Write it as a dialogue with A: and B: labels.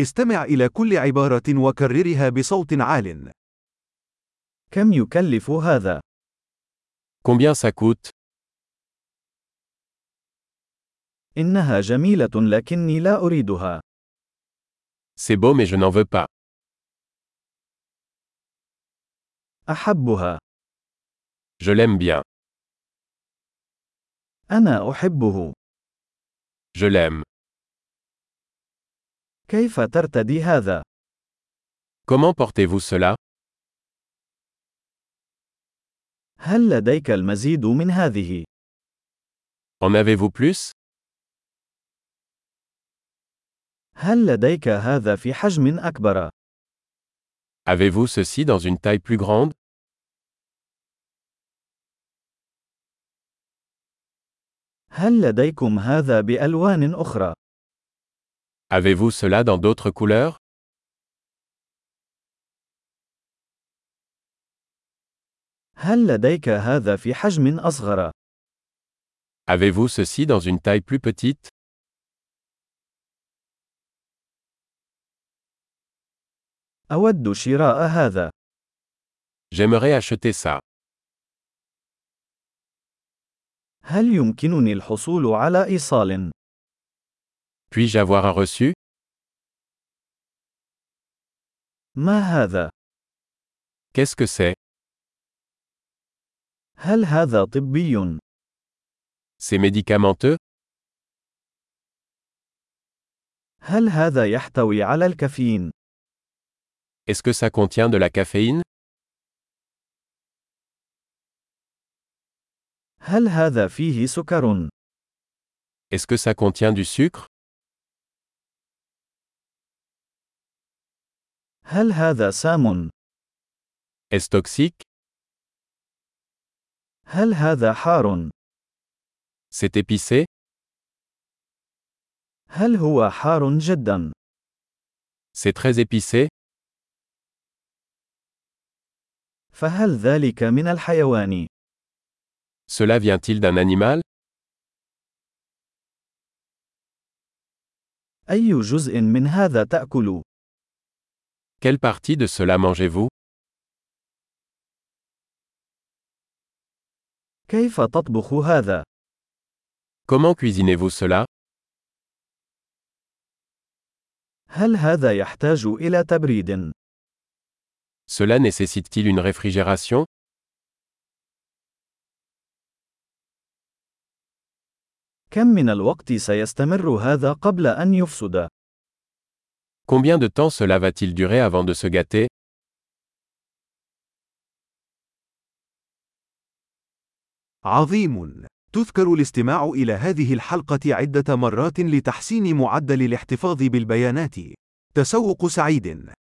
A: استمع إلى كل عبارة وكررها بصوت عال.
B: كم يكلف هذا؟
C: Combien ça coûte
B: إنها جميلة لكني لا أريدها.
C: C'est beau mais je n'en veux pas.
B: أحبها.
C: Je l'aime bien.
B: أنا أحبه.
C: Je l'aime.
B: كيف ترتدي هذا؟
C: Comment portez-vous cela
B: هل لديك المزيد من هذه؟
C: En avez-vous plus
B: هل لديك هذا في حجم أكبر؟
C: Avez-vous ceci dans une taille plus grande
B: هل لديكم هذا بألوان أخرى؟
C: Avez-vous cela dans d'autres couleurs
B: هل لديك هذا في حجم أصغر؟
C: Avez-vous ceci dans une taille plus petite
B: أود شراء هذا.
C: J'aimerais acheter ça.
B: هل يمكنني الحصول على إيصال؟
C: Puis-je avoir un reçu
B: ما هذا؟
C: Qu'est-ce que c'est
B: هل هذا طبي؟
C: C'est médicamenteux
B: هل هذا يحتوي على الكافيين؟
C: Est-ce que ça contient de la caféine
B: هل هذا فيه سكر؟
C: Est-ce que ça contient du sucre
B: هل هذا سام؟
C: Est-ce toxique
B: هل هذا حار؟
C: C'est épicé
B: هل هو حار جدا؟
C: C'est très épicé
B: فهل ذلك من الحيوان؟
C: Cela vient-il d'un animal
B: أي جزء من هذا تأكل؟
C: Quelle partie de cela mangez-vous
B: كيف تطبخ هذا؟
C: Comment cuisinez-vous cela
B: هل هذا يحتاج إلى تبريد؟
C: Cela nécessite-t-il une réfrigération
B: كم من الوقت سيستمر هذا قبل أن يفسد؟
C: Combien de temps cela va-t-il durer avant de se gâter
A: عظيم. تذكر الاستماع إلى هذه الحلقة عدة مرات لتحسين معدل الاحتفاظ بالبيانات. تسوق سعيد.